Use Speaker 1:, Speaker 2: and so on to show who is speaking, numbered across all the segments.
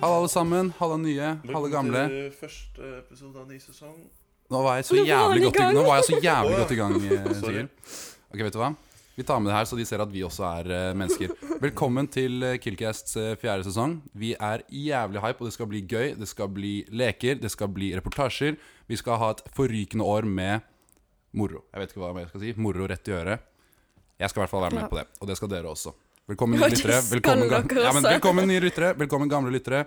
Speaker 1: Halla, alle sammen. Halla, nye. Halla, gamle.
Speaker 2: til første episode av ny sesong.
Speaker 1: Nå var jeg så
Speaker 3: Nå var han i
Speaker 1: jævlig godt i,
Speaker 3: gang.
Speaker 1: nå var jeg så jævlig godt i gang. eh,
Speaker 2: Sorry.
Speaker 1: Sigurd. Ok, vet du hva? Vi tar med det her, så de ser at vi også er eh, mennesker. Velkommen til eh, Killcasts eh, fjerde sesong. Vi er jævlig hype, og det skal bli gøy. Det skal bli leker, det skal bli reportasjer. Vi skal ha et forrykende år med moro. Jeg vet ikke hva jeg skal si. Moro rett i øret. Jeg skal i hvert fall være med
Speaker 3: Ja.
Speaker 1: på det, og det skal dere også. Velkommen
Speaker 3: Ja,
Speaker 1: nye
Speaker 3: det
Speaker 1: lyttere.
Speaker 3: skal
Speaker 1: Velkommen, ga
Speaker 3: dere
Speaker 1: ja, men
Speaker 3: også.
Speaker 1: velkommen nye lyttere. Velkommen gamle lyttere.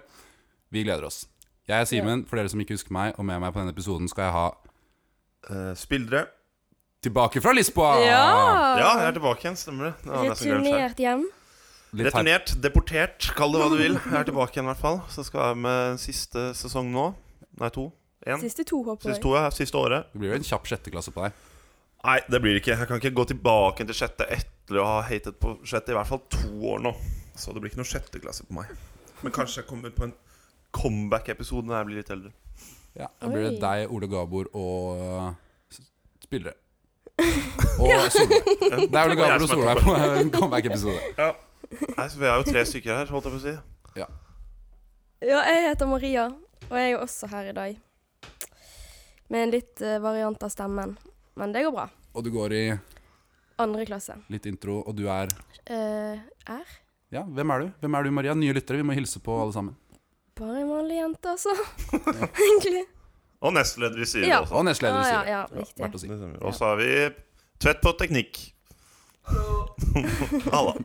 Speaker 1: Vi gleder oss. Jeg er Simen, for dere som ikke husker meg, og med meg på denne episoden skal jeg ha
Speaker 2: Uh, Spillere.
Speaker 1: Tilbake fra Lisboa!
Speaker 2: Ja,
Speaker 3: Ja!
Speaker 2: jeg er tilbake igjen, stemmer det. det var nesten glemt selv.
Speaker 3: Returnert hjem.
Speaker 1: Litt her-
Speaker 2: Returnert, deportert, kall det hva du vil. Jeg er tilbake igjen i hvert fall. Så skal jeg med siste sesong nå. Nei, to. Én.
Speaker 3: Siste to, håper
Speaker 2: Siste
Speaker 3: jeg.
Speaker 2: to, ja. Siste året.
Speaker 1: Det blir jo en kjapp sjetteklasse på deg.
Speaker 2: Nei, det blir det ikke. Jeg kan ikke gå tilbake til sjette etter å ha hatet på sjette i hvert fall to år nå. Så det blir ikke noe sjetteklasse på meg. Men kanskje jeg kommer på en comeback-episode når jeg blir litt eldre.
Speaker 1: Ja, Da blir det
Speaker 3: Oi.
Speaker 1: deg, Ole Gabor og uh, s- spillere. Og Solveig. Det er Ole Gabor og Solveig på en comeback-episode.
Speaker 2: Ja. Nei, så Vi er jo tre stykker her, holdt jeg på å si.
Speaker 3: Ja, jeg heter Maria, og jeg er jo også her i dag. Med en litt eh, variant av stemmen. Men det går bra.
Speaker 1: Og du går i
Speaker 3: Andre klasse.
Speaker 1: litt intro, og du er
Speaker 3: Eh, er
Speaker 1: Ja, hvem er du? Hvem er du, Maria? Nye lyttere, vi må hilse på alle sammen.
Speaker 3: bare en vanlig jente, altså. Egentlig.
Speaker 2: Og nestleder i Siri
Speaker 3: Ja.
Speaker 2: også.
Speaker 1: Og nestleder i
Speaker 3: Ah, ja,
Speaker 1: Siri.
Speaker 3: ja, riktig.
Speaker 1: Verdt å si.
Speaker 2: Det stemmer. Liksom. Og så har vi Tvedt på teknikk. Halla.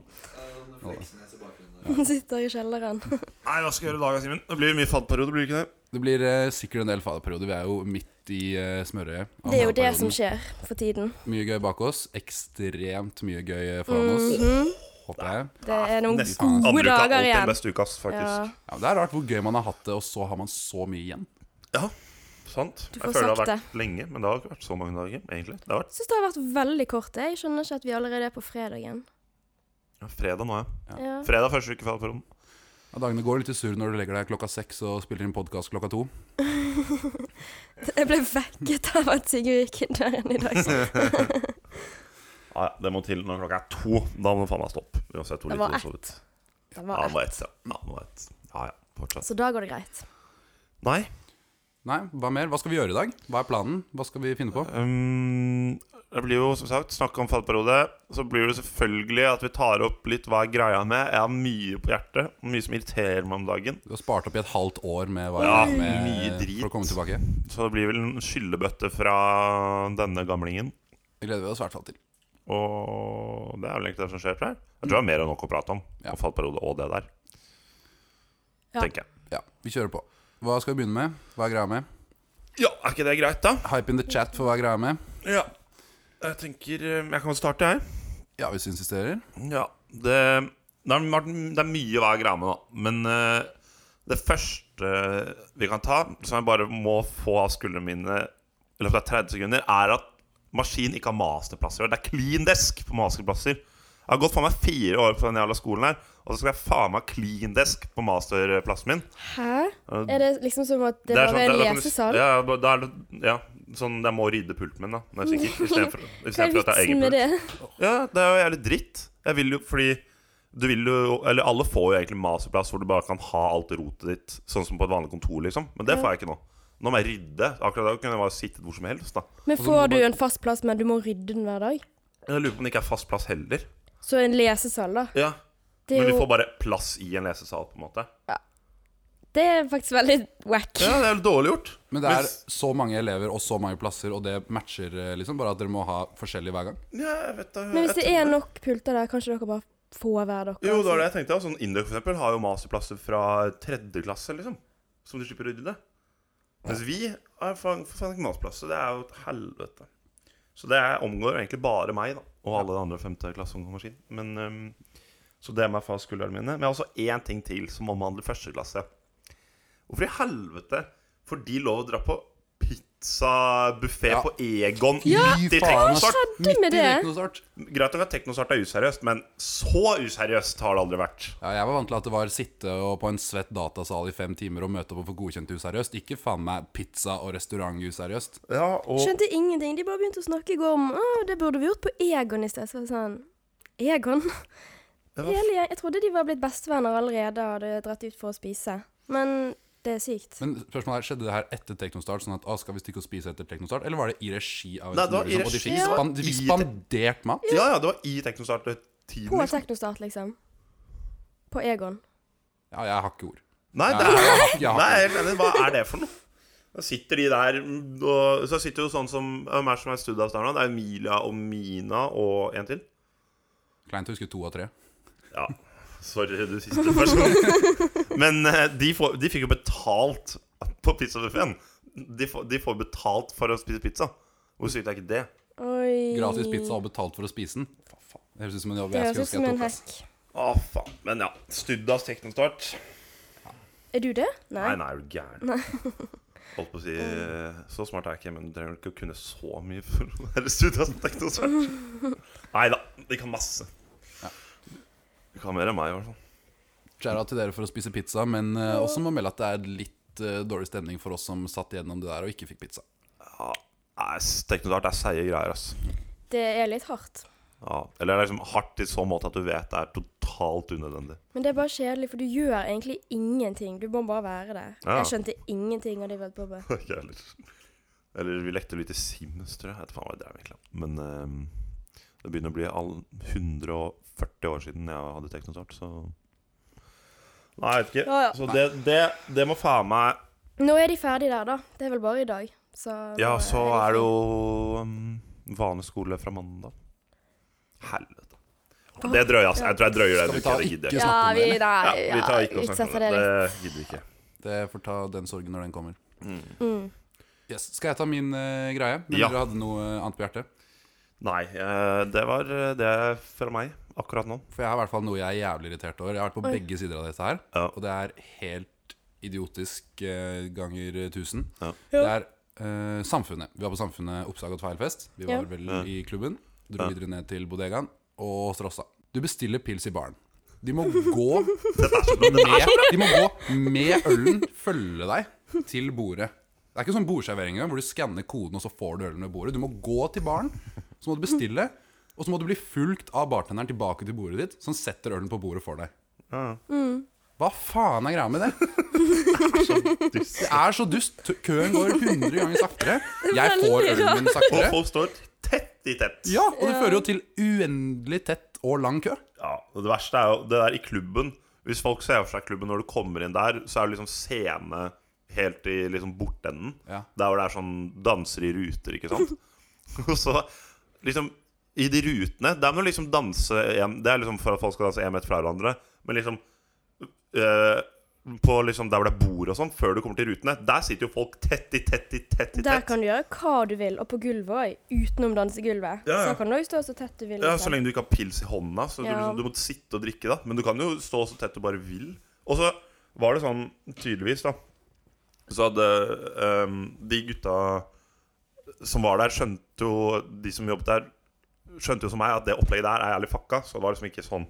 Speaker 3: Hun sitter i kjelleren.
Speaker 2: Nei, hva skal jeg gjøre i dag, Simen? Det blir mye fadperiode, blir det ikke det?
Speaker 1: Det blir eh, sikkert en del faderperioder. Vi er jo midt i eh, smørøyet. av
Speaker 3: Det er jo det
Speaker 1: faderperioden.
Speaker 3: som skjer for tiden.
Speaker 1: Mye gøy bak oss. Ekstremt mye gøy eh, foran oss,
Speaker 3: Mhm.
Speaker 1: håper jeg.
Speaker 3: Det er noen
Speaker 2: Ah, Nesten.
Speaker 3: gode
Speaker 2: Andre uka er
Speaker 3: dager
Speaker 2: alltid den
Speaker 3: igjen.
Speaker 2: beste uka, ass,
Speaker 3: Ja,
Speaker 2: faktisk.
Speaker 1: Ja, men det er rart hvor gøy man har hatt det, og så har man så mye igjen.
Speaker 2: Sant.
Speaker 3: Du
Speaker 2: Jeg
Speaker 3: får
Speaker 2: føler det har
Speaker 3: sagt
Speaker 2: vært lenge, men det har ikke vært så mange dager, egentlig. Det har vært
Speaker 3: jeg syns det har vært veldig kort. jeg. Jeg skjønner ikke at vi allerede er på fredagen.
Speaker 2: ja, fredag nå, ja.
Speaker 3: Ja.
Speaker 2: Fredag første uke i fadperioden.
Speaker 1: Ja, dagene går litt i surr når du legger deg klokka seks og spiller inn podkast klokka to.
Speaker 3: Jeg ble vekket av at Sigurd gikk inn døren i dag.
Speaker 2: Ja, ja, det må til når klokka er to. Da må du faen meg stoppe. Uansett hvor lite
Speaker 3: Det var
Speaker 2: du har sovet.
Speaker 3: Det
Speaker 2: Ja,
Speaker 3: var
Speaker 2: det var ett. Ja, Ja, det var ett. Altså- Ja, ja. Fortsatt.
Speaker 3: Så da går det greit.
Speaker 2: Nei.
Speaker 1: Nei, hva mer? Hva skal vi gjøre i dag? Hva er planen? Hva skal vi finne på?
Speaker 2: Um, det blir jo som sagt snakk om fallperiode. Så blir det selvfølgelig at vi tar opp litt hva er greia med. Jeg har mye på hjertet. Mye som irriterer meg om dagen.
Speaker 1: Du har spart opp i et halvt år med, hva,
Speaker 2: Ja,
Speaker 1: med
Speaker 2: mye drit.
Speaker 1: for å komme tilbake.
Speaker 2: Så det blir vel en skyllebøtte fra denne gamlingen.
Speaker 1: Det gleder vi oss i hvert fall til.
Speaker 2: Og det er vel egentlig det som skjer for deg. Jeg tror det er mer enn nok å prate om.
Speaker 1: Ja.
Speaker 2: Og fallperiode og det der.
Speaker 3: Ja.
Speaker 2: Tenker jeg.
Speaker 1: Ja, vi kjører på. Hva skal vi begynne med? Hva er greia med?
Speaker 2: Ja, er ikke det greit, da?
Speaker 1: Hype in the chat for hva er greia med?
Speaker 2: Ja. Jeg tenker eh, Jeg kan starte, jeg.
Speaker 1: Ja, hvis du insisterer.
Speaker 2: Ja, det, det, har vært, det er mye hva er greia med, da. Men eh, det første vi kan ta, som jeg bare må få av skuldrene mine i løpet av 30 sekunder, er at maskin ikke har masterplasser. i år. Det er clean desk på masterplasser. Jeg har gått faen meg fire år på den jævla skolen her, og så skal jeg faen meg ha clean desk på masterplassen min.
Speaker 3: Hæ?
Speaker 2: Eh,
Speaker 3: Er det liksom som at det,
Speaker 2: er
Speaker 3: var
Speaker 2: sånn-
Speaker 3: en
Speaker 2: da- da kan du-
Speaker 3: lesesal?
Speaker 2: Ja, da- da er det, ja, sånn jeg må rydde pulten min, da, når jeg stikker. Istedenfor i
Speaker 3: Hva
Speaker 2: stedet
Speaker 3: er
Speaker 2: for at det er
Speaker 3: vitsen
Speaker 2: egen
Speaker 3: med
Speaker 2: pult.
Speaker 3: det?
Speaker 2: Ja, det er jo jævlig dritt. Jeg vil jo fordi du vil jo, eller Alle får jo egentlig masterplass hvor du bare kan ha alt rotet ditt. Sånn som på et vanlig kontor, liksom. Men det får jeg ikke nå. Nå må jeg rydde. Akkurat da kunne jeg bare sittet hvor som helst. da
Speaker 3: Men får du en fast plass, men du må rydde den hver dag?
Speaker 2: Jeg lurer på om det ikke er fast plass heller.
Speaker 3: Så en lesesal, da.
Speaker 2: Ja
Speaker 3: Det
Speaker 2: Men
Speaker 3: er
Speaker 2: vi får
Speaker 3: jo
Speaker 2: bare plass i en lesesal, på en måte.
Speaker 3: det er faktisk veldig wack.
Speaker 2: Ja, det er dårlig gjort.
Speaker 1: Men det er
Speaker 2: Hvis-
Speaker 1: så mange elever og så mange plasser, og det matcher eh, liksom. Bare at dere må ha forskjellig hver gang.
Speaker 2: Ja, jeg vet da
Speaker 3: Men hvis
Speaker 2: jeg
Speaker 3: det er
Speaker 2: tror
Speaker 3: nok pulter der, kanskje dere altså. bare får hver deres?
Speaker 2: Jo, det
Speaker 1: altså-
Speaker 2: var det jeg tenkte. ja. Sånn Indøk, for eksempel, har jo masterplasser fra tredje klasse, liksom. Som du slipper å rydde. Mens vi har faen for faen ikke masterplass, så det er jo et helvete. Så det er- omgår egentlig bare meg, da. Og alle de andre femte klasseungdommene sine. Men ehm, Så det er meg fra skuldrene mine. Men jeg har også én ting til som omhandler første klasse. Hvorfor i helvete får de lov å dra på pizzabuffé
Speaker 1: Ja.
Speaker 2: på Egon
Speaker 1: Fy
Speaker 2: midt i
Speaker 1: faen, altså. ass.
Speaker 2: Teknostart?
Speaker 3: skjedde
Speaker 1: Midt i
Speaker 3: med det?
Speaker 1: teknostart.
Speaker 2: Greit nok at Teknostart er useriøst, men så useriøst har det aldri vært.
Speaker 1: Ja, jeg var vant til at det var sitte og på en svett datasal i fem timer og møte opp og få godkjent useriøst. Ikke faen meg pizza og restaurant useriøst.
Speaker 2: Ja, og
Speaker 3: Skjønte ingenting. De bare begynte å snakke i går om å, det burde vi gjort på Egon i sted. Så var det sånn Egon?
Speaker 2: Det var
Speaker 3: Hele, jeg, jeg trodde de var blitt bestevenner allerede og hadde dratt ut for å spise. Men det er sykt.
Speaker 1: Men spørsmålet er, skjedde det her etter Teknostart? Sånn at, ah, skal vi stikke og spise etter Teknostart? Eller var det i regi av
Speaker 2: Nei, det
Speaker 1: Restaurant
Speaker 2: var
Speaker 1: Norge,
Speaker 2: i
Speaker 1: og de
Speaker 2: regi,
Speaker 1: fikk
Speaker 2: det var
Speaker 1: span- de fikk
Speaker 2: i-
Speaker 1: spandert mat?
Speaker 2: Ja, ja, det var i teknostartet-tiden.
Speaker 3: På
Speaker 2: Liksom.
Speaker 3: Teknostart, liksom. På Egon.
Speaker 1: Ja, jeg har ikke ord.
Speaker 2: Nei,
Speaker 1: Jeg,
Speaker 2: det
Speaker 1: jeg,
Speaker 2: er
Speaker 1: har ikke- jeg har
Speaker 2: Nei,
Speaker 1: ikke
Speaker 2: jeg er helt enig. Hva er det for noe? Da sitter de der mm, og, Så sitter jo sånn som Hvem er det som er studioet der nå? Det er Emilia og Mina og en til.
Speaker 1: Kleint å huske to av tre.
Speaker 2: Ja. Sorry, du siste personen. Men eh, de, får, de fikk jo betalt på pizzabuffeen. De, får- de får betalt for å spise pizza. Hvor sykt er ikke det?
Speaker 3: Oi.
Speaker 1: Gratis pizza og betalt for å spise den. Fa- faen. Det høres ut som en jobb
Speaker 3: Det
Speaker 1: jeg skulle
Speaker 3: høres ut som
Speaker 1: ønske jeg
Speaker 3: en
Speaker 1: tok. ass.
Speaker 3: hekk.
Speaker 2: Å, faen. Men ja. Studdas teknostart.
Speaker 3: Er du det? Nei.
Speaker 2: Nei, nei, er du gæren? Holdt på å si eh, Så smart er jeg ikke, men du trenger ikke å kunne så mye for å være studdas teknostart. Nei da. De kan masse. De kan mer enn meg, i hvert fall.
Speaker 1: Shout out til dere for å spise pizza, men eh, også må melde at det er litt eh, dårlig stemning for oss som satt igjennom det der og ikke fikk pizza.
Speaker 2: Ja, nei, teknostart er seige greier, ass.
Speaker 3: Det er litt hardt.
Speaker 2: Ja. Eller det er liksom hardt i så måte at du vet det er totalt unødvendig.
Speaker 3: Men det er bare kjedelig, for du gjør egentlig ingenting. Du må bare være der.
Speaker 2: Ja.
Speaker 3: Jeg skjønte ingenting av det vi holdt på med.
Speaker 2: Ikke jeg heller. Eller vi lekte litt i Sims, tror jeg. Jeg vet faen hva jeg drev med egentlig. Men eh, det begynner å bli all 140 år siden jeg hadde teknostart, så Nei, jeg vet ikke.
Speaker 3: Ja, ja.
Speaker 2: Så det, det, det må faen meg
Speaker 3: Nå er de ferdige der, da. Det er vel bare i dag. Så eh,
Speaker 2: Ja,
Speaker 3: nå
Speaker 2: så
Speaker 3: de
Speaker 2: er det
Speaker 3: ferdige.
Speaker 2: jo um, vanlig skole fra mandag. Helvete. Det drøyer, altså. Jeg tror jeg drøyer
Speaker 1: Skal
Speaker 2: det.
Speaker 1: vi ta
Speaker 2: en uke, Det gidder
Speaker 1: ikke
Speaker 2: jeg ikke.
Speaker 3: Ja,
Speaker 1: snakke om det,
Speaker 3: vi,
Speaker 1: eller?
Speaker 3: nei,
Speaker 2: Ja,
Speaker 3: ja,
Speaker 2: vi tar ikke å snakke om
Speaker 3: utsetter
Speaker 2: det.
Speaker 3: det litt.
Speaker 2: Det gidder vi ikke.
Speaker 1: Det får ta den sorgen når den kommer.
Speaker 3: Mm.
Speaker 1: Yes. Skal jeg ta min eh, greie? Men
Speaker 2: Ja.
Speaker 1: dere hadde noe eh, annet på hjertet?
Speaker 2: Nei, eh, det var eh, det fra meg akkurat nå.
Speaker 1: For jeg har i hvert fall noe jeg er jævlig irritert over. Jeg har vært på
Speaker 3: Oi.
Speaker 1: begge sider av dette her,
Speaker 2: Ja.
Speaker 1: og det er helt idiotisk eh, ganger eh, tusen.
Speaker 2: Ja.
Speaker 1: Det er eh, Samfunnet. Vi var på Samfunnet Oppsag og Tveilfest. Vi var
Speaker 3: Ja.
Speaker 1: vel
Speaker 2: Ja.
Speaker 1: i klubben. Dro
Speaker 2: Ja.
Speaker 1: videre ned til bodegaen og Strossa. Du bestiller pils i baren. De må gå med, de må gå med ølen, følge deg til bordet. Det er ikke sånn bordservering engang, hvor du skanner koden og så får du ølen ved bordet. Du må gå til baren, så må du bestille, og så må du bli fulgt av bartenderen tilbake til bordet ditt, som setter ølen på bordet for deg.
Speaker 2: Ja.
Speaker 1: Hva faen er greia med det? Det er så dust. T- Køen går 100 ganger saktere. Jeg får
Speaker 3: veldig
Speaker 1: ølen min
Speaker 2: Og
Speaker 1: saktere.
Speaker 2: folk står tett i tett.
Speaker 1: Ja, og det fører jo til uendelig tett og lang kø.
Speaker 2: Ja, og Det verste er jo det der i klubben. Hvis folk ser for seg klubben når du kommer inn der, så er det liksom scene helt i liksom bortenden.
Speaker 1: Ja.
Speaker 2: Der hvor det er sånn dansere i ruter, ikke sant. Og så liksom I de rutene Der må du liksom danse en, Det er liksom for at folk skal danse én meter fra hverandre. Men liksom eh, På liksom der hvor det er bord og sånn, før du kommer til rutene, der sitter jo folk tett i tett i tett i
Speaker 3: Der
Speaker 2: tett.
Speaker 3: kan du gjøre hva du vil, og på gulvet òg, utenom dansegulvet.
Speaker 2: Ja, ja.
Speaker 3: Så kan du òg stå så tett du vil.
Speaker 2: Ja,
Speaker 3: liksom.
Speaker 2: Så lenge du ikke har pils i hånda. Så du,
Speaker 3: Ja.
Speaker 2: liksom, du må sitte og drikke, da. Men du kan jo stå så tett du bare vil. Og så var det sånn, tydeligvis, da Så hadde ehm, de gutta som var der, skjønte jo De som jobbet der, skjønte jo som meg at det opplegget der er jævlig fucka. Så det var liksom ikke sånn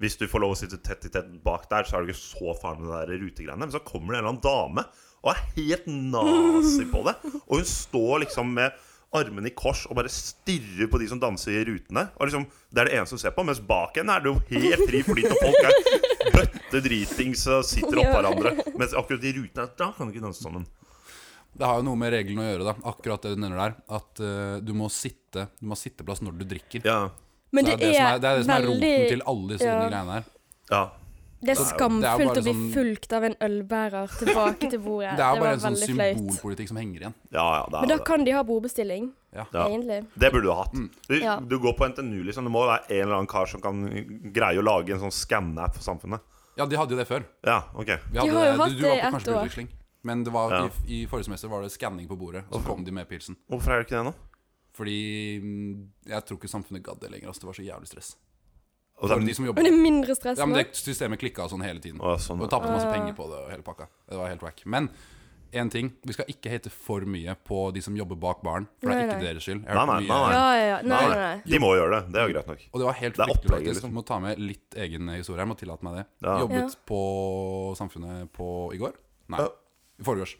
Speaker 2: Hvis du får lov å sitte tett i tett bak der, så er du ikke så farlig med de der rutegreiene. Men så kommer det en eller annen dame og er helt nazi på det. Og hun står liksom med armene i kors og bare stirrer på de som danser i rutene. Og liksom, Det er det eneste hun ser på. Mens bak henne er det jo helt fri flyt, og folk er bøtte dritings og sitter oppå hverandre. Mens akkurat de rutene da kan du ikke danse sammen.
Speaker 1: Det har jo noe med reglene å gjøre, da. Akkurat det du nevner der. At eh, du må sitte Du må ha sitteplass når du drikker.
Speaker 2: Ja,
Speaker 3: Men
Speaker 1: det, er det, som er, det er det som er roten til alle disse
Speaker 3: ja.
Speaker 1: greiene her.
Speaker 2: ja.
Speaker 3: Det
Speaker 1: Det
Speaker 3: er
Speaker 1: er jo- det er
Speaker 3: skamfullt
Speaker 1: bare
Speaker 3: å bli
Speaker 1: sånn-
Speaker 3: fulgt av en ølbærer tilbake til bordet.
Speaker 1: Det er bare
Speaker 3: var
Speaker 1: en sånn
Speaker 3: veldig flaut.
Speaker 1: symbolpolitikk som henger igjen.
Speaker 2: Ja, ja, det er
Speaker 3: Men da
Speaker 2: det.
Speaker 3: kan de ha bordbestilling,
Speaker 1: Ja.
Speaker 2: Ja.
Speaker 3: egentlig.
Speaker 2: Det burde du ha hatt. Du,
Speaker 3: Ja.
Speaker 2: du går på NTNU, liksom. Det må jo være en eller annen kar som kan greie å lage en sånn skanne-app for samfunnet.
Speaker 1: ja, de hadde jo det før.
Speaker 2: Ja, ok.
Speaker 1: Vi
Speaker 3: har
Speaker 1: hadde
Speaker 3: jo
Speaker 1: det-
Speaker 3: hatt
Speaker 1: du, du
Speaker 3: det
Speaker 1: var
Speaker 3: i
Speaker 1: på
Speaker 3: ett
Speaker 1: kanskje på
Speaker 3: år.
Speaker 1: utveksling. Men det var,
Speaker 2: Ja.
Speaker 1: i, i forrige semester var det skanning på bordet, og så kom de med pilsen.
Speaker 2: Hvorfor er det ikke det nå?
Speaker 1: Fordi mm, jeg tror ikke samfunnet gadd det lenger. Altså, det var så jævlig stress.
Speaker 2: Og
Speaker 1: For
Speaker 2: det er-
Speaker 1: de som jobbet
Speaker 3: Men det er mindre stress
Speaker 1: Ja, men
Speaker 3: nå.
Speaker 1: det systemet klikka og sånn hele tiden.
Speaker 2: Å, sånn,
Speaker 1: Og
Speaker 2: ja.
Speaker 1: tapte masse penger på det og hele pakka. Det var helt wack. Men én ting, vi skal ikke hate for mye på de som jobber bak baren. For det
Speaker 3: Nei,
Speaker 1: er ikke
Speaker 3: nei.
Speaker 1: deres skyld. Jeg
Speaker 2: Nei,
Speaker 1: har hørt
Speaker 2: nei, nei,
Speaker 1: mye-
Speaker 2: nei.
Speaker 3: Ja, ja, ja. Nei, nei, nei.
Speaker 2: De må jo gjøre det. Det er jo greit nok.
Speaker 1: Og det var helt
Speaker 2: Det er
Speaker 1: fryktelig,
Speaker 2: opplegget,
Speaker 1: faktisk.
Speaker 2: liksom.
Speaker 1: Må ta med litt egen historie. Jeg må tillate meg det.
Speaker 2: Ja.
Speaker 1: Jobbet
Speaker 3: Ja.
Speaker 1: på Samfunnet på i går? Nei,
Speaker 2: Ja.
Speaker 1: i forgårs.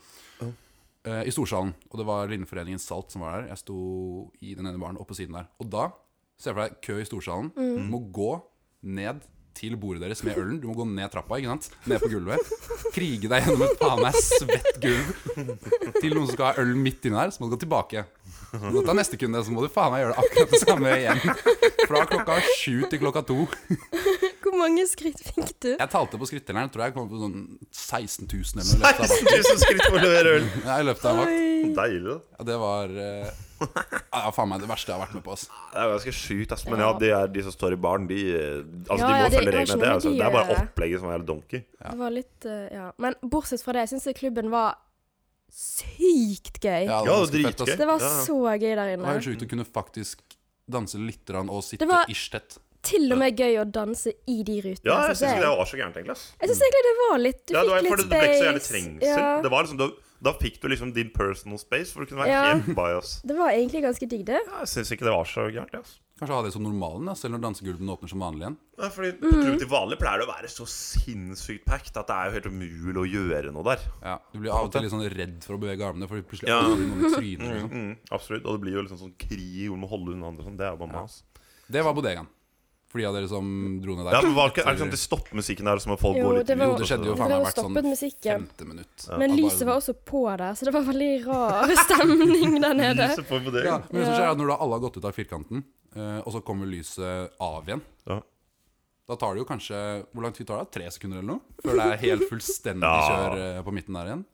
Speaker 1: Eh, I Storsalen. Og det var Lindeforeningen Salt som var der. Jeg sto i den ene baren oppe på siden der. Og da, se for deg kø i Storsalen. Du må gå ned til bordet deres med ølen. Du må gå ned trappa, ikke sant? Ned på gulvet. Krige deg gjennom et faen meg svett gulv til noen som skal ha øl midt inni der. Så må du gå tilbake. Når du tar neste kunde, så må du faen meg gjøre det akkurat det samme igjen. Fra klokka sju til klokka to.
Speaker 3: Hvor mange skritt fikk du?
Speaker 1: Jeg talte på skrittelleren, tror jeg kom på sånn 16 000 eller noe i løpet av
Speaker 2: 16 000 skritt for å levere øl.
Speaker 1: Ja, i løpet av en vakt.
Speaker 3: Oi.
Speaker 2: Deilig, da.
Speaker 1: Ja, det var eh, ja, faen meg det verste jeg har vært med på. Ass.
Speaker 2: Det er ganske sjukt, ass. Men ja,
Speaker 3: Ja.
Speaker 2: de, er, de som står i baren, de eh, Altså,
Speaker 3: Ja,
Speaker 2: de må
Speaker 3: ja, de-
Speaker 2: følge
Speaker 3: jeg
Speaker 2: reglene.
Speaker 3: har ikke
Speaker 2: Det er,
Speaker 3: noe
Speaker 2: altså, det
Speaker 3: med
Speaker 2: er
Speaker 3: de å
Speaker 2: bare
Speaker 3: gjøre.
Speaker 2: opplegget som er donkey.
Speaker 3: Det var litt eh, Ja. Men bortsett fra det, syns jeg klubben var sykt gøy.
Speaker 1: Ja,
Speaker 2: Ja,
Speaker 1: ganske
Speaker 2: det
Speaker 1: fett,
Speaker 2: var
Speaker 1: ass.
Speaker 2: dritgøy.
Speaker 3: Det var
Speaker 2: Ja, ja.
Speaker 3: så gøy der
Speaker 1: Det var
Speaker 3: inne.
Speaker 1: helt sjukt å kunne faktisk danse litt grann og sitte
Speaker 3: Det var-
Speaker 1: ish tett.
Speaker 3: Til og med gøy å danse i de rutene.
Speaker 2: Ja, jeg
Speaker 3: synes
Speaker 2: syns ikke det var så gærent, egentlig. ass
Speaker 3: Jeg syns egentlig det var litt altså, Du
Speaker 2: Ja, det var,
Speaker 3: fikk
Speaker 2: for
Speaker 3: litt
Speaker 2: det ble ikke så jævlig
Speaker 3: space.
Speaker 2: trengsel. Det var liksom, da, da fikk du liksom din personal space, for du kunne være
Speaker 3: Ja.
Speaker 2: helt by oss.
Speaker 3: det var egentlig ganske digg, det.
Speaker 2: Ja, jeg syns ikke det var så gærent. ass
Speaker 1: Kanskje ha det som normalen, da, selv når dansegulvene åpner som vanlig igjen.
Speaker 2: Nei, fordi På
Speaker 3: Mm.
Speaker 2: klubben til vanlig pleier det å være så sinnssykt packed at det er jo helt umulig å gjøre noe der.
Speaker 1: Ja, du blir av og til litt sånn redd for å bevege armene, for plutselig
Speaker 2: Ja.
Speaker 1: er det noen i trynet. Liksom.
Speaker 2: Mm, absolutt. Og det blir jo liksom sånn krig hvor man holder unna andre. og Sånn. Det er jo bare mas.
Speaker 1: Det var bodegaen. For de av dere som dro ned der.
Speaker 2: Ja, men var ikke, er det ikke sånn at de stopper musikken der, og så må folk
Speaker 3: Jo,
Speaker 2: gå litt
Speaker 3: det var-
Speaker 2: ut, og
Speaker 1: det
Speaker 2: så-
Speaker 1: skjedde jo faen
Speaker 3: Det ble
Speaker 1: meg
Speaker 3: jo
Speaker 1: hvert sånn
Speaker 3: stoppet musikken.
Speaker 1: femte minutt.
Speaker 3: Men
Speaker 1: At bare
Speaker 3: lyset
Speaker 1: sånn-
Speaker 3: var også på der, så det var veldig rar stemning der nede.
Speaker 2: Lyset på på det.
Speaker 1: ja, Men det som
Speaker 3: Ja.
Speaker 1: skjer er at når da alle har gått ut av firkanten, eh, og så kommer lyset av igjen
Speaker 2: Ja.
Speaker 1: Da tar det jo kanskje Hvor lang tid tar det? Tre sekunder eller noe? Før det er helt fullstendig
Speaker 2: Ja.
Speaker 1: kjør eh, på midten der igjen?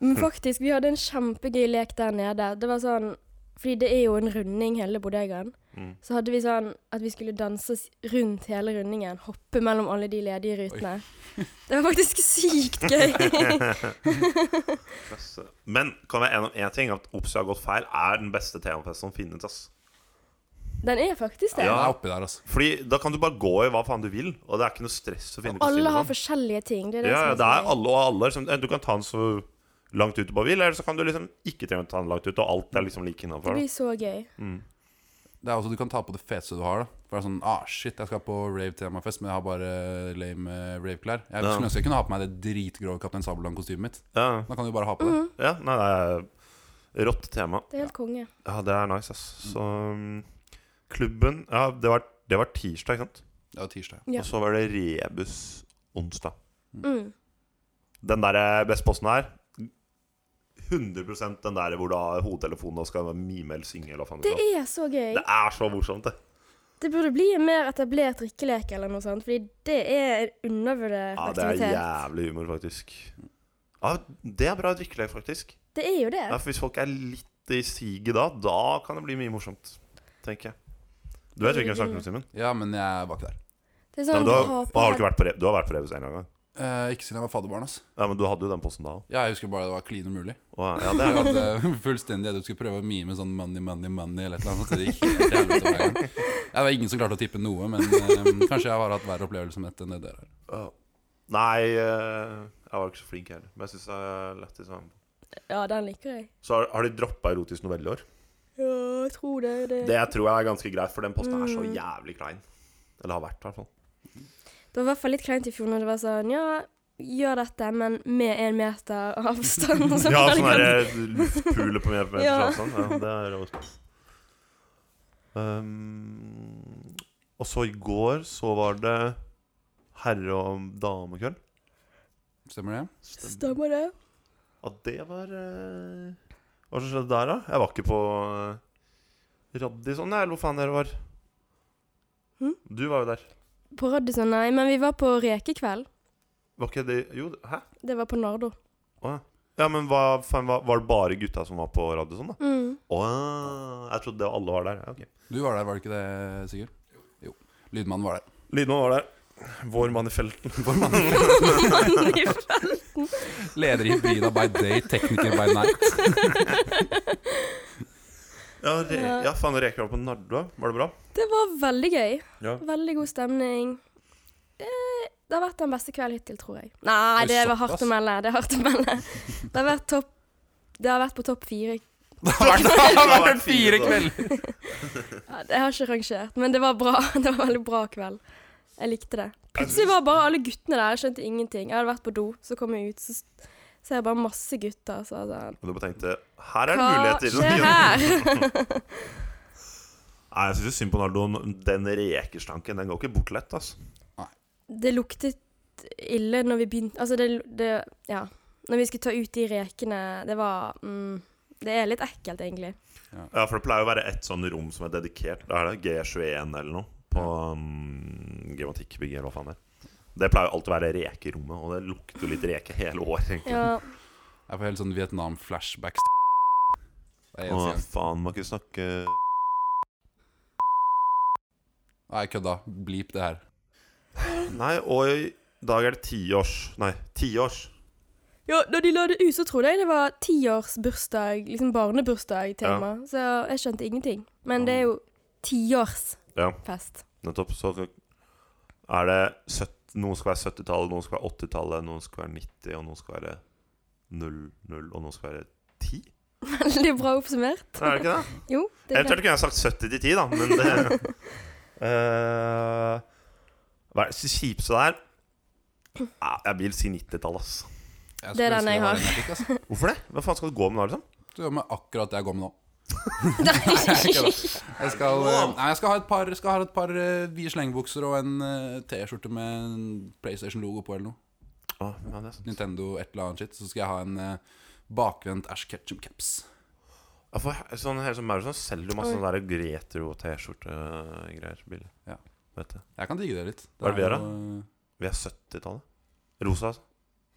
Speaker 3: Men
Speaker 2: Mm.
Speaker 3: faktisk, vi hadde en kjempegøy lek der nede. Det var sånn Fordi det er jo en runding, hele bodegaen.
Speaker 2: Mm.
Speaker 3: Så hadde vi sånn at vi skulle danse s- rundt hele rundingen. Hoppe mellom alle de ledige rutene. Det var faktisk sykt gøy.
Speaker 2: Men kan være enig om én ting, at Ops har gått feil, er den beste temafesten som finnes. ass
Speaker 3: Den er faktisk det.
Speaker 1: Ja. Det er oppi der, altså.
Speaker 2: Fordi da kan du bare gå i hva faen du vil, og det er ikke noe stress å finne på
Speaker 3: Alle har
Speaker 2: stillingen.
Speaker 3: forskjellige ting. Det er det
Speaker 2: Ja, ja, det
Speaker 3: som
Speaker 2: er
Speaker 3: er så gøy.
Speaker 2: alle og alle. Liksom, du kan ta den så langt ut du bare vil, eller så kan du liksom ikke trenge å ta den langt ut, og alt er liksom like
Speaker 3: Det
Speaker 2: innafor.
Speaker 3: blir så gøy.
Speaker 1: Det er også Du kan ta på det feteste du har. da For det er sånn Ah, shit, jeg skal på rave-temafest, men jeg har bare lame eh, rave-klær. Jeg
Speaker 2: Ja.
Speaker 1: skulle ønske jeg kunne ha på meg det dritgrå Kaptein Sabeltann-kostymet mitt.
Speaker 2: Ja,
Speaker 1: Da kan du bare ha på det.
Speaker 2: ja, nei, det er rått tema.
Speaker 3: Det er helt konge.
Speaker 2: Ja, det er nice, ass. Så um, klubben Ja, det var, det var tirsdag, ikke sant?
Speaker 1: Det er jo tirsdag.
Speaker 3: Ja.
Speaker 2: Og så var det rebus onsdag.
Speaker 3: Mm.
Speaker 2: Den der beste posten her 100 den der hvor du har hodetelefonen og skal mime eller synge. Eller hva faen
Speaker 3: Det
Speaker 2: det, er.
Speaker 3: er så gøy.
Speaker 2: det er så morsomt, det.
Speaker 3: Det burde bli en mer etablert drikkelek eller noe sånt, fordi det er en undervurdert
Speaker 2: Ja, Det er
Speaker 3: aktivitet.
Speaker 2: jævlig humor, faktisk. Ja, Det er bra drikkelek, faktisk.
Speaker 3: det er jo det.
Speaker 2: Ja, for hvis folk er litt i siget da, da kan det bli mye morsomt. Tenker jeg. Du vet hvilken jeg snakker om, Simen?
Speaker 1: Ja, men jeg var ikke der.
Speaker 3: Det er
Speaker 2: Ja, men
Speaker 3: sånn
Speaker 2: du har,
Speaker 3: ha på
Speaker 2: har du ikke vært på Re- du har vært på Rebus en gang?
Speaker 1: Eh, ikke siden jeg var fadderbarn. ass
Speaker 2: Ja, men du hadde jo den posten da òg.
Speaker 1: Ja, Jeg husker bare det var klin umulig.
Speaker 2: Ja, det
Speaker 1: Jeg
Speaker 2: er-
Speaker 1: hadde fullstendig at du skulle prøve å mime sånn money, money, money eller et eller annet. Så det gikk helt til helvete hver gang. Ja, Det var ingen som klarte å tippe noe, men eh, kanskje jeg har hatt verre opplevelse med dette enn det dere har.
Speaker 2: ja. Nei, eh, jeg var ikke så flink heller. Men jeg syns det er lættis å være med på.
Speaker 3: Ja, den liker jeg.
Speaker 2: Så har, har de droppa erotisk novelle i år?
Speaker 3: Ja, jeg tror det. Det,
Speaker 2: Det tror jeg er ganske greit, for den posten er så jævlig klein. Eller har vært, i hvert fall.
Speaker 3: det var i hvert fall litt kleint i fjor når det var sånn Ja, gjør dette, men med en meter avstand. og
Speaker 2: Ja,
Speaker 3: var
Speaker 2: sånn
Speaker 3: det kanskje-
Speaker 2: derre luftpule på meters
Speaker 3: Ja.
Speaker 2: avstand. sånn. Ja, det er rått. Um, og så i går så var det herre- og damekveld.
Speaker 1: Stemmer det?
Speaker 3: Stemmer det?
Speaker 2: Ja, det var eh, Hva som skjedde der, da? Jeg var ikke på uh, Radisson, eller hvor faen dere var.
Speaker 3: Hm?
Speaker 2: Du var jo der.
Speaker 3: På Radisson, nei, men vi var på rekekveld.
Speaker 2: Var ikke det Jo, hæ?
Speaker 3: Det var på Nardo.
Speaker 2: Å, ja. ja, men hva, faen, var, var det bare gutta som var på Radisson, da?
Speaker 3: Mm.
Speaker 2: Å ja. Jeg trodde det alle var der. Ja, ok.
Speaker 1: Du var der, var det ikke det, Sigurd? Jo. Lydmannen var der.
Speaker 2: Lydmann var der. Vår mann i felten.
Speaker 1: Leder i Hybrida by day, tekniker by night.
Speaker 2: Ja, re
Speaker 3: Ja.
Speaker 2: ja faen, reker var på Nardo. Var det bra?
Speaker 3: Det var veldig gøy.
Speaker 2: Ja.
Speaker 3: Veldig god stemning. Eh, Det har vært den beste kvelden hittil, tror jeg. Nei,
Speaker 1: Oi,
Speaker 3: det var
Speaker 1: såpass.
Speaker 3: hardt å melde. Det er hardt å melde. Det har vært, topp, det har vært på topp fire.
Speaker 1: Det har vært, det har vært fire kvelder!
Speaker 3: Ja, Jeg har ikke rangert, men det var bra. Det var en veldig bra kveld. Jeg likte det. Plutselig var bare alle guttene der. Jeg skjønte ingenting. Jeg hadde vært på do, så kom jeg ut, så s- ser jeg bare masse gutter. Så jeg sånn,
Speaker 2: Og du bare tenkte Her er det
Speaker 3: Hva
Speaker 2: muligheter.
Speaker 3: skjer her?
Speaker 2: Nei, jeg syns synd på Nardo. Den rekerslanken den går ikke bort lett. altså
Speaker 1: Nei.
Speaker 3: Det luktet ille når vi begynte Altså, det, det Ja. Når vi skulle ta ut de rekene, det var mm, Det er litt ekkelt, egentlig.
Speaker 2: Ja, for det pleier å være ett sånn rom som er dedikert. Da er det G21 eller noe på um, geomatikkbygget eller hva faen det er. Det pleier jo alltid å være rekerommet, og det lukter jo litt reke hele året. egentlig.
Speaker 3: Ja.
Speaker 1: Jeg får helt sånn Vietnam-flashbacks. Det er
Speaker 2: Å,
Speaker 1: eneste gang.
Speaker 2: faen, må ikke snakke
Speaker 1: Nei, kødda. Bleep det her.
Speaker 2: Nei, og i dag er det tiårs Nei, tiårs.
Speaker 3: Ja, da de la det ut, så trodde jeg det var tiårsbursdag, liksom barnebursdag-tema. Så jeg skjønte ingenting. Men det er jo tiårsfest.
Speaker 2: Ja, nettopp. Så er det 70, Noen skal være 70-tallet, noen skal være 80-tallet, noen skal være 90, og noen skal være 0, 0, og noen skal være 10?
Speaker 3: Veldig bra oppsummert.
Speaker 2: Er det ikke det?
Speaker 3: Jo, det er
Speaker 2: Eventuelt kunne jeg sagt 70 til 10, da, men det Eh, Hva er det kjipeste der? Ja, Jeg vil si 90-tallet, ass.
Speaker 1: Jeg
Speaker 3: Det er
Speaker 1: skulle
Speaker 3: den
Speaker 1: ønske
Speaker 3: jeg
Speaker 1: var
Speaker 3: har.
Speaker 1: den fikk, ass.
Speaker 2: Hvorfor det? Hva faen skal du gå med da, liksom?
Speaker 1: Du gjør meg akkurat det jeg går med nå.
Speaker 3: greit.
Speaker 1: Jeg skal, eh, nei, jeg skal ha et par, skal ha et par eh, vide slengebukser og en eh, T-skjorte med en PlayStation-logo på eller noe.
Speaker 2: Å, ja, det er sant.
Speaker 1: Nintendo et eller annet shit. Så skal jeg ha en eh, bakvendt Ash Ketchum Caps.
Speaker 2: Ja, for he- sånn, hele sånn Mauritsson selger jo masse sånne der retro T-skjorte-greier. billig.
Speaker 1: Ja.
Speaker 2: Vet du.
Speaker 1: Jeg kan digge det litt.
Speaker 2: Hva er det vi gjør da?
Speaker 1: jo, eh,
Speaker 2: Vi er 70-tallet. Rosa, altså.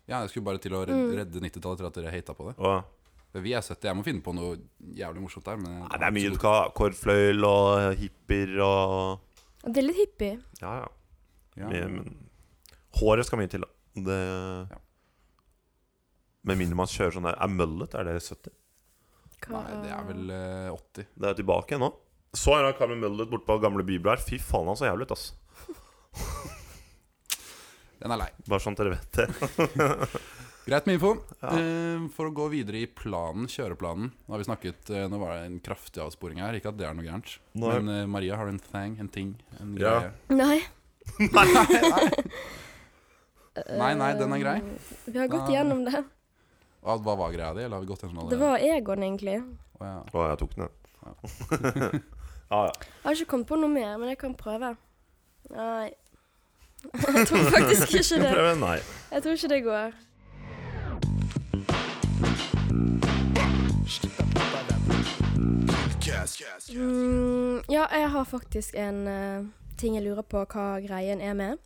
Speaker 1: Ja, jeg skulle bare til å redde, redde 90-tallet til at dere hata på det.
Speaker 2: Og,
Speaker 1: Men Vi er 70, jeg må finne på noe jævlig morsomt der. Men
Speaker 2: nei, det er mye du kan ha. Korfløyel og hippier og
Speaker 3: Det er litt hippie.
Speaker 2: Ja, ja.
Speaker 1: Ja.
Speaker 2: Mye, men håret skal mye til, da. Det
Speaker 1: Ja.
Speaker 2: Med mindre man kjører sånn der Er møllet? Er det 70?
Speaker 3: Hva-
Speaker 1: Nei, det er vel eh, 80.
Speaker 2: Det er tilbake nå. Så en kar med møllet borte på gamle bybler. Fy faen, han så jævlig ut, ass.
Speaker 1: Den er lei.
Speaker 2: Bare sånn at dere vet det.
Speaker 1: Greit med info. Eh, for å gå videre i planen, kjøreplanen Nå har vi snakket, eh, nå var det en kraftig avsporing her. Ikke at det er noe gærent.
Speaker 2: Nei.
Speaker 1: Men eh, Maria, har du en thang, en ting, en
Speaker 2: Ja.
Speaker 1: greie?
Speaker 3: Nei.
Speaker 1: Nei, nei, den er grei.
Speaker 3: Eh, Vi har gått
Speaker 1: Nei.
Speaker 3: gjennom det.
Speaker 1: Hva hva var greia di, eller har vi gått gjennom
Speaker 3: Det var Egon, egentlig.
Speaker 1: Å, ja.
Speaker 2: Å, jeg tok den, jeg. Ja, ja.
Speaker 3: Jeg har ikke kommet på noe mer, men jeg kan prøve. Nei. Jeg tror faktisk ikke
Speaker 2: Skal vi
Speaker 3: det.
Speaker 2: prøve? Nei.
Speaker 3: Jeg tror ikke det går. Mm, ja, jeg har faktisk en eh, ting jeg lurer på hva greien er med.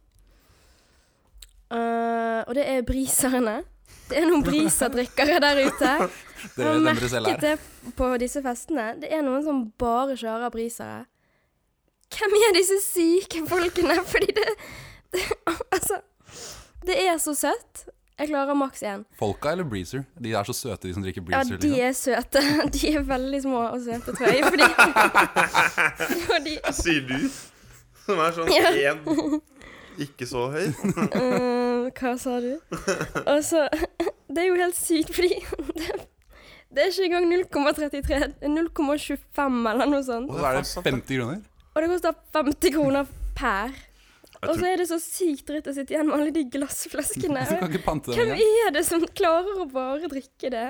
Speaker 3: Eh, og det er briserne. Det er noen briserdrikkere der ute.
Speaker 1: Det er den dere selv
Speaker 3: merket
Speaker 1: er.
Speaker 3: det på disse festene. Det er noen som bare kjører brisere. Hvem er disse syke folkene? Fordi det, det Altså. Det er så søtt. Jeg klarer maks én.
Speaker 1: Folka eller Breezer? De er så søte, de som drikker
Speaker 3: Ja,
Speaker 1: Breezer. liksom.
Speaker 3: de er søte. De er veldig små og søte, tror jeg. Fordi, fordi
Speaker 2: Sier du? Som er sånn
Speaker 3: Ja.
Speaker 2: én ikke så høy?
Speaker 3: eh, Hva sa du? Og så Det er jo helt sykt, fordi det, det er ikke engang 0,33. det er 0,25 eller noe sånt.
Speaker 1: Og så er det 50 kroner.
Speaker 3: Og det koster 50 kroner per.
Speaker 2: Jeg
Speaker 3: Og så
Speaker 2: tror-
Speaker 3: er det så sykt dritt å sitte igjen med alle de glassflaskene.
Speaker 1: Du kan ikke pante dem
Speaker 3: Hvem
Speaker 1: engang.
Speaker 3: er det som klarer å bare drikke det?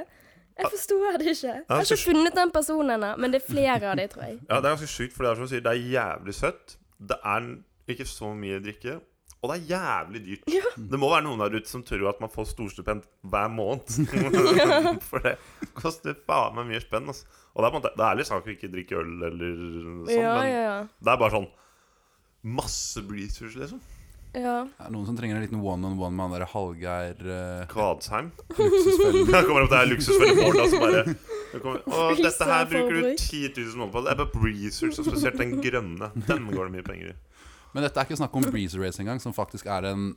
Speaker 3: Jeg forstår det ikke. Jeg har ikke
Speaker 2: forstår-
Speaker 3: funnet den personen ennå, men det er flere av de, tror jeg.
Speaker 2: Ja, det er ganske sjukt, for det er som du sier, det er jævlig søtt. Det er n- ikke så mye drikke. Og det er jævlig dyrt. Det må være noen der ute som tror at man får storstipend hver måned. for det koster faen meg mye spenn. Altså. Og det er, på en måte, det er ærlig sak å ikke drikke øl eller sånn,
Speaker 3: ja,
Speaker 2: men
Speaker 3: ja, ja.
Speaker 2: det er bare sånn masse breezers, liksom.
Speaker 3: ja.
Speaker 1: Det er noen som trenger en liten one-on-one med han der Hallgeir eh,
Speaker 2: Kvadsheim.
Speaker 1: luksusfellen.
Speaker 2: Jeg kommer opp til det her luksusfellet vårt, altså bare jeg kommer, Å,
Speaker 3: Breezer
Speaker 2: dette her bruker du
Speaker 3: forbruk.
Speaker 2: 10 000 måneder på. Det er bare breezers, og spesielt den grønne. Den går det mye penger i.
Speaker 1: Men dette er ikke snakk om Breezer Race engang, som faktisk er en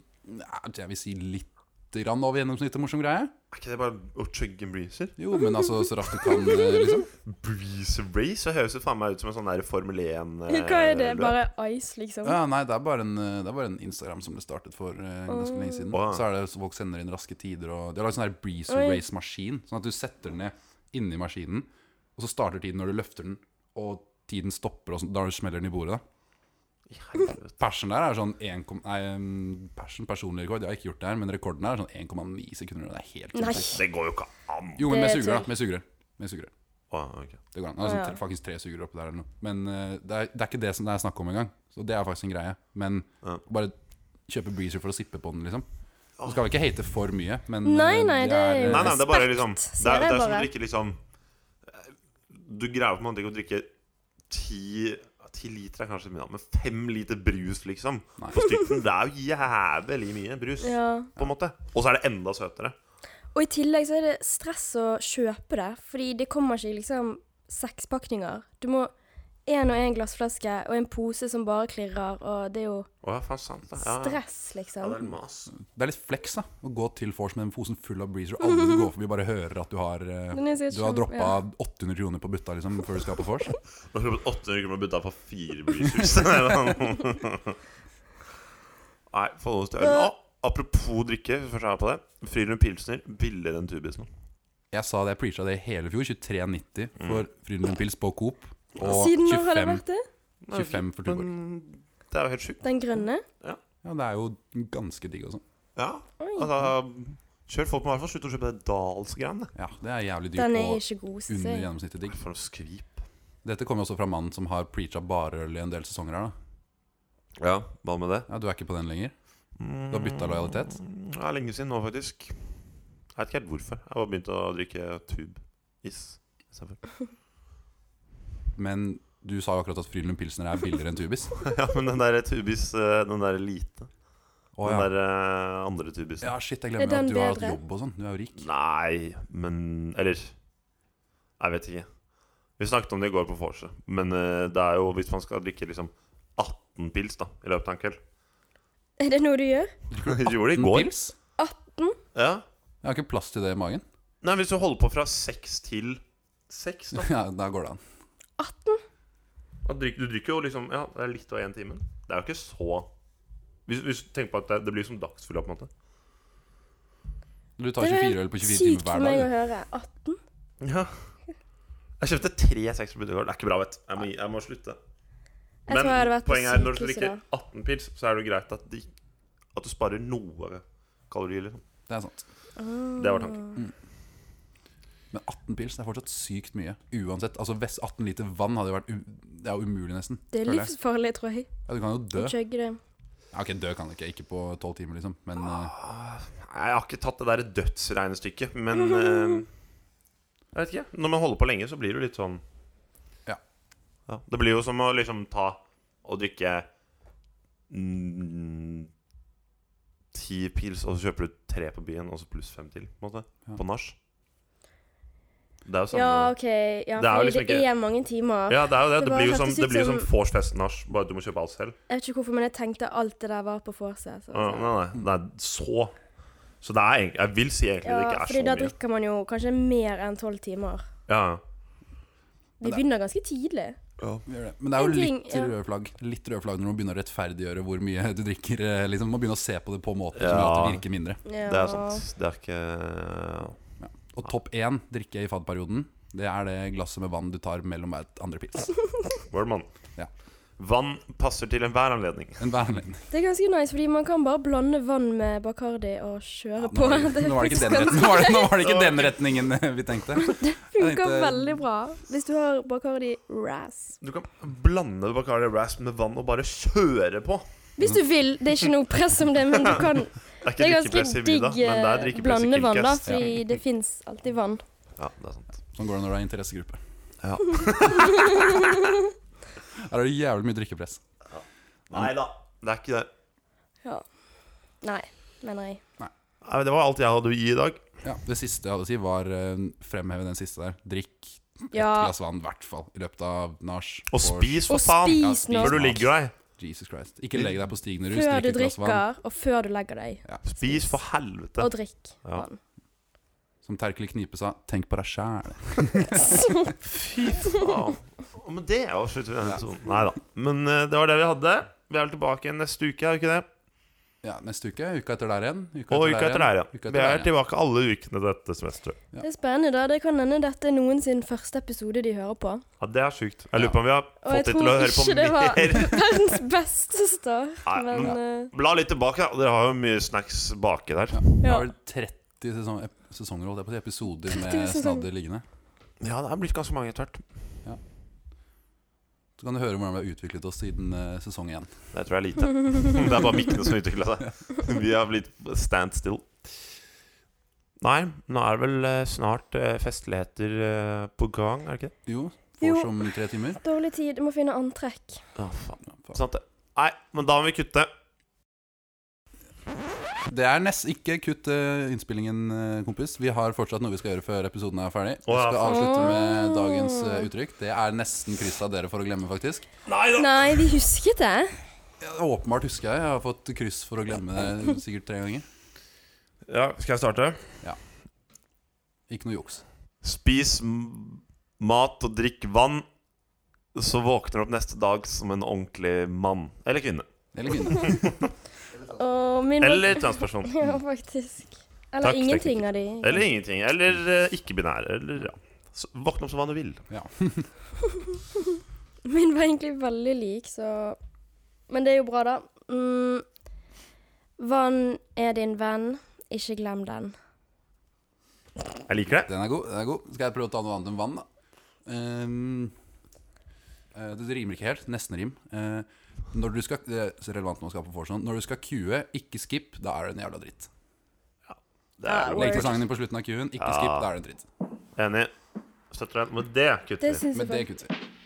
Speaker 1: ja, Jeg vil si litt grann over gjennomsnittet morsom greie.
Speaker 2: Er ikke det bare å chugge en breezer?
Speaker 1: Jo, men altså så raskt du kan, eh, liksom.
Speaker 2: Breezer race? Det høres jo faen meg ut som en sånn der Formel 1 eh,
Speaker 3: Hva er det?
Speaker 2: løp.
Speaker 3: Bare ice, liksom?
Speaker 1: Ja, nei, det er bare en, eh, det er bare en Instagram som ble startet for eh, ganske lenge siden.
Speaker 2: Åh.
Speaker 1: Så er det så folk sender inn raske tider og De har lagd sånn her Breezer
Speaker 3: Oi.
Speaker 1: Race-maskin, sånn at du setter den ned inni maskinen, og så starter tiden når du løfter den, og tiden stopper, og så, da smeller den i bordet. da
Speaker 2: Helvete.
Speaker 1: Persen der er sånn 1, kom- nei, um, persen, personlig rekord, jeg har ikke gjort det her, men rekorden her er sånn 1,9 sekunder. og Det er helt
Speaker 3: Nei.
Speaker 1: kult.
Speaker 2: Det går jo ikke an.
Speaker 1: Jo, men
Speaker 3: Det
Speaker 1: med
Speaker 3: er
Speaker 1: sugerør,
Speaker 3: tull.
Speaker 1: da. Med sugerør. Med sugerør.
Speaker 2: Å, ok.
Speaker 1: Det går an. Det er sånn,
Speaker 3: Å, ja.
Speaker 1: tre- faktisk tre sugerør oppi der eller noe. Men eh, det, er, det er ikke det som det er snakk om engang. Så det er faktisk en greie. Men
Speaker 2: Ja.
Speaker 1: bare kjøpe breezer for å sippe på den, liksom. Så skal vi ikke hate for mye, men eh,
Speaker 3: Nei, nei, det er jo-
Speaker 1: eh,
Speaker 2: Nei, nei, det er bare
Speaker 3: Respekt,
Speaker 2: liksom
Speaker 3: sier
Speaker 2: Det er, det
Speaker 3: jeg
Speaker 2: er som å
Speaker 3: bare.
Speaker 2: drikke liksom Du greier på en måte ikke å drikke ti Ti liter er kanskje mye, da, men fem liter brus, liksom.
Speaker 1: Nei.
Speaker 2: For stykten, det er jo jævlig mye brus,
Speaker 3: Ja.
Speaker 2: på en måte. Og så er det enda søtere.
Speaker 3: Og i tillegg så er det stress å kjøpe det, fordi det kommer ikke i liksom seks pakninger. Du må én og én glassflaske og en pose som bare klirrer, og det er jo
Speaker 2: Å ja, faen sant det. Ja, ja.
Speaker 3: stress,
Speaker 2: Ja, det
Speaker 3: liksom.
Speaker 2: er mas.
Speaker 1: Det er litt flex da å gå til vors med den posen full av breezer. og Alle som går forbi, bare hører at du har eh,
Speaker 3: Den er sikkert
Speaker 1: Du har
Speaker 3: kjempe-
Speaker 1: droppa
Speaker 3: ja.
Speaker 1: 800 kroner på butta liksom før du skal på vors.
Speaker 2: Nå har jeg kjøpt 800 kroner butta for fire breezers. Nei, forhold oss til øl. Å, Apropos drikke, først er jeg på det. Frilund Pilsner billigere enn Tubisen.
Speaker 1: Jeg sa det, jeg preacha det i hele fjor. 23,90 for Frydenlund Pils på Coop. Og
Speaker 3: Siden når har det
Speaker 1: 25,
Speaker 3: vært det?
Speaker 1: 25 for Tuborg.
Speaker 2: Men Det er jo helt sjukt.
Speaker 3: Den grønne?
Speaker 1: Ja, det er jo ganske digg sånn. også.
Speaker 2: Ja.
Speaker 3: Oi.
Speaker 2: Altså, kjør folk må i hvert fall slutte å kjøpe det Dahls-greiene.
Speaker 1: Ja, det er jævlig dyrt
Speaker 3: Den er
Speaker 1: og
Speaker 3: ikke god, synes
Speaker 1: under
Speaker 3: jeg.
Speaker 1: gjennomsnittet digg.
Speaker 2: For noe skvip.
Speaker 1: Dette kommer også fra mannen som har preacha barøl i en del sesonger her, da.
Speaker 2: Ja, hva med det?
Speaker 1: Ja, Du er ikke på den lenger? Du har bytta lojalitet?
Speaker 2: Mm, Det er lenge siden nå, faktisk. Jeg vet ikke helt hvorfor. Jeg bare begynte å drikke tube-is istedenfor.
Speaker 1: Men du sa jo akkurat at Frydenlund Pilsner er billigere enn Tubis.
Speaker 2: ja, men den der tube-is, eh, den der lite.
Speaker 1: Å
Speaker 2: Den
Speaker 1: ja.
Speaker 2: der eh, andre tube-isen.
Speaker 1: ja, shit, jeg
Speaker 3: Er
Speaker 1: glemmer
Speaker 3: den
Speaker 1: at du har hatt
Speaker 3: bedre?
Speaker 1: jobb og sånn. Du er jo rik.
Speaker 2: Nei, men Eller Jeg vet ikke. Vi snakket om det i går på vorset. Men eh, det er jo hvis man skal drikke liksom 18 pils da i løpet av en kveld.
Speaker 3: Er det noe du gjør?
Speaker 2: Vi gjorde det i
Speaker 1: 18
Speaker 2: går.
Speaker 1: pils?
Speaker 2: Ja.
Speaker 1: Jeg har ikke plass til det i magen.
Speaker 2: Nei, hvis du holder på fra seks til seks, da.
Speaker 1: Ja, Da går det an.
Speaker 3: 18?
Speaker 2: da drikker, du drikker jo liksom Ja, det er litt og én time. Det er jo ikke så Hvis, hvis du tenker på at det, det blir som dagsfylla, på en måte.
Speaker 1: Du tar
Speaker 3: Det
Speaker 1: 24
Speaker 3: er
Speaker 1: øl på 24 timer
Speaker 3: sykt
Speaker 1: hver
Speaker 3: for meg å
Speaker 1: dag. du.
Speaker 3: høre. 18?
Speaker 2: Ja. Jeg kjøpte tre sekser på Budegård. Det er ikke bra, vet du. Jeg må, gi- jeg må slutte.
Speaker 3: Jeg tror jeg hadde vært på
Speaker 2: poenget er når du
Speaker 3: sykehuset
Speaker 2: drikker 18 pils, så er det jo greit at, de, at du sparer noe kalorier. Liksom.
Speaker 1: Det er sant.
Speaker 2: Det var
Speaker 3: Mm.
Speaker 2: tanken.
Speaker 1: Men 18 pils det er fortsatt sykt mye. Uansett. Altså vest 18 liter vann hadde jo vært u Det er jo umulig, nesten.
Speaker 3: Det er
Speaker 1: føler jeg.
Speaker 3: livsfarlig, tror jeg.
Speaker 1: Ja, du kan jo dø.
Speaker 3: Å chugge det.
Speaker 1: Ja, ok, dø kan du ikke. Ikke på 12 timer, liksom. Men eh,
Speaker 2: Ah, Nei, Jeg har ikke tatt det der dødsregnestykket, men
Speaker 3: Mhm.
Speaker 2: eh, Jeg vet ikke. Når man holder på lenge, så blir det jo litt sånn
Speaker 1: Ja.
Speaker 2: Ja, Det blir jo som å liksom ta og drikke mm, ti pils, og så kjøper du tre på byen, og så pluss fem til, på en måte.
Speaker 1: Ja.
Speaker 2: På nach. Det er jo samme
Speaker 3: Ja, OK.
Speaker 2: Det er
Speaker 3: Ja,
Speaker 2: jo
Speaker 3: fordi
Speaker 2: liksom
Speaker 3: det
Speaker 2: ikke-
Speaker 3: er mange timer.
Speaker 2: Ja, det er jo det.
Speaker 3: Det
Speaker 2: Det
Speaker 3: var
Speaker 2: blir jo som,
Speaker 3: faktisk
Speaker 2: det blir jo som
Speaker 3: liksom-
Speaker 2: vorsfest-nach, bare at du må kjøpe alt selv.
Speaker 3: Jeg vet ikke hvorfor, men jeg tenkte alt det der var på vorset. så-
Speaker 2: Ja, nei, nei, det er så Så det er egentlig Jeg vil si egentlig det
Speaker 3: Ja,
Speaker 2: ikke er
Speaker 3: fordi
Speaker 2: så
Speaker 3: da
Speaker 2: mye.
Speaker 3: drikker man jo kanskje mer enn tolv timer.
Speaker 2: Ja,
Speaker 3: Vi begynner ganske tidlig.
Speaker 2: ja.
Speaker 1: gjør det. Men det er jo
Speaker 3: En ting,
Speaker 1: litt
Speaker 3: ja.
Speaker 1: røde flagg Litt røde flagg når man begynner å rettferdiggjøre hvor mye du drikker. eh, Liksom, man må begynne å se på det på måter som gjør at det virker
Speaker 2: Ja.
Speaker 1: mindre.
Speaker 3: Ja.
Speaker 2: Det er sant. Det er ikke
Speaker 1: Og topp én drikke i fadperioden, det er det glasset med vann du tar mellom hver andre pils.
Speaker 2: Word, mann.
Speaker 1: Ja.
Speaker 2: Vann passer til enhver anledning.
Speaker 1: En værmelding.
Speaker 3: Det er ganske nice, fordi man kan bare blande vann med Bacardi og kjøre
Speaker 1: Nå
Speaker 3: på.
Speaker 1: var det, nå var det
Speaker 3: faktisk
Speaker 1: ikke den
Speaker 3: ganske-
Speaker 1: retningen, nå var det, nå var det ikke den retningen eh, vi tenkte. Jeg
Speaker 3: funker
Speaker 1: tenkte-
Speaker 3: veldig bra. Hvis du har Bacardi Razz.
Speaker 2: Du kan blande Bacardi Rasp med vann og bare kjøre på.
Speaker 3: Hvis du vil. Det er ikke noe press om det, men du kan
Speaker 2: Det er
Speaker 3: Det
Speaker 2: ikke
Speaker 3: er
Speaker 2: drikkepress i
Speaker 3: ganske digg
Speaker 2: middag, men det er
Speaker 3: eh,
Speaker 2: drikkepress i
Speaker 3: blandevann, da,
Speaker 2: Kilkast.
Speaker 3: fordi det fins alltid vann.
Speaker 2: Ja, det er sant.
Speaker 1: Sånn går det når du er i interessegruppe.
Speaker 2: Ja.
Speaker 1: Her er det jævlig mye drikkepress.
Speaker 2: Nei da. Det er ikke det.
Speaker 3: Ja. Nei, mener jeg.
Speaker 2: Nei, men Det var alt jeg hadde å gi i dag.
Speaker 1: Ja, det siste jeg hadde å si, var eh, fremheve den siste der. Drikk et
Speaker 3: Ja.
Speaker 1: glass vann, i hvert fall. I løpet av nach.
Speaker 2: Og
Speaker 1: vors.
Speaker 2: spis, for
Speaker 3: Og
Speaker 2: faen!
Speaker 3: spis
Speaker 1: Ja,
Speaker 3: nå.
Speaker 2: Før du ligger deg.
Speaker 1: Jesus Christ. Ikke legg deg på Stignerud.
Speaker 3: Før
Speaker 1: Drikk
Speaker 3: du
Speaker 1: et glass vann.
Speaker 3: drikker, og før du legger deg.
Speaker 1: Ja.
Speaker 2: Spis, for helvete.
Speaker 3: Og drikk
Speaker 2: Ja.
Speaker 3: vann.
Speaker 1: Som Terkel Knipe sa, tenk på deg sjæl.
Speaker 2: Ja. Og med det avslutter vi denne episoden. Nei da. Men eh, det var det vi hadde. Vi er vel tilbake igjen neste uke, er vi ikke det?
Speaker 1: Ja, neste uke. Uka etter der igjen.
Speaker 2: Og uka etter der
Speaker 1: Uka
Speaker 2: igjen. Vi er
Speaker 1: der igjen.
Speaker 2: tilbake alle ukene dette semesteret.
Speaker 3: Det er spennende, da. Det kan hende dette er noen sin første episode de hører på.
Speaker 2: Ja, det er sjukt. Jeg lurer på om vi har
Speaker 3: Og jeg
Speaker 2: fått de til
Speaker 3: tror
Speaker 2: å høre på
Speaker 3: ikke det var
Speaker 2: mer.
Speaker 3: verdens beste start,
Speaker 2: Nei,
Speaker 3: men eh.
Speaker 2: Bla litt tilbake. da. Dere har jo mye snacks baki der.
Speaker 3: eh,
Speaker 1: Det
Speaker 3: ja.
Speaker 1: var vel 30 sesong, ep- sesonger, holdt jeg på å si, episoder med
Speaker 3: 30 sesonger.
Speaker 1: snadder liggende.
Speaker 2: Ja, det er blitt ganske mange etter hvert.
Speaker 1: Så kan du høre hvordan vi har utviklet oss siden eh, sesong én.
Speaker 4: Det tror jeg er lite. Det er bare mikkene som utvikla seg. Vi har blitt stand still.
Speaker 2: Nei, nå er det vel eh, snart eh, festligheter eh, på gang, er det ikke det?
Speaker 1: Jo,
Speaker 3: Jo.
Speaker 1: får som tre timer.
Speaker 3: Dårlig tid, jeg må finne antrekk.
Speaker 2: Å, faen.
Speaker 1: Ja, faen.
Speaker 2: Sant det. Nei, men da må vi kutte.
Speaker 1: Det er nest ikke kutt eh, innspillingen, eh, kompis. Vi har fortsatt noe vi skal gjøre før episoden er ferdig. Vi
Speaker 4: Å, ja,
Speaker 1: skal avslutte med
Speaker 3: Åh.
Speaker 1: dagens eh, uttrykk. Det er nesten kryss av dere for å glemme, faktisk.
Speaker 4: Nei da!
Speaker 3: Nei, vi husket det.
Speaker 1: Ja, åpenbart husker jeg. Jeg har fått kryss for å glemme det sikkert tre ganger.
Speaker 4: Ja, skal jeg starte?
Speaker 1: Ikke noe juks.
Speaker 2: Spis m- mat og drikk vann, så våkner du opp neste dag som en ordentlig mann. Eller kvinne.
Speaker 1: Eller kvinne.
Speaker 3: Og min
Speaker 2: Eller transperson.
Speaker 3: Ja, faktisk. Eller
Speaker 2: Takk,
Speaker 3: ingenting
Speaker 2: tekniker.
Speaker 3: av de.
Speaker 2: Eller ingenting. Eller eh, ikke-binær. Eller ja. Så Våkne opp som hva du vil.
Speaker 1: Ja.
Speaker 3: Min var egentlig veldig lik, så Men det er jo bra, da. Mm. Vann er din venn, ikke glem den.
Speaker 2: Jeg liker det.
Speaker 1: Den er god. den er god Skal jeg prøve å ta noe annet enn vann, da? Ehm, eh, det rimer ikke helt. Nesten rim. Eh, når du skal, det er så relevant nå å skape forsånd. Når du skal queue, ikke skip, da er det en jævla dritt.
Speaker 2: det er
Speaker 3: Word.
Speaker 1: Legg til sangen din på slutten av queuen. Ikke skip, da er det en dritt.
Speaker 2: Enig. Støtter deg. Men det kutter
Speaker 3: Det
Speaker 2: vi.
Speaker 3: syns jeg
Speaker 1: Men det
Speaker 3: faktisk.
Speaker 1: kutter vi.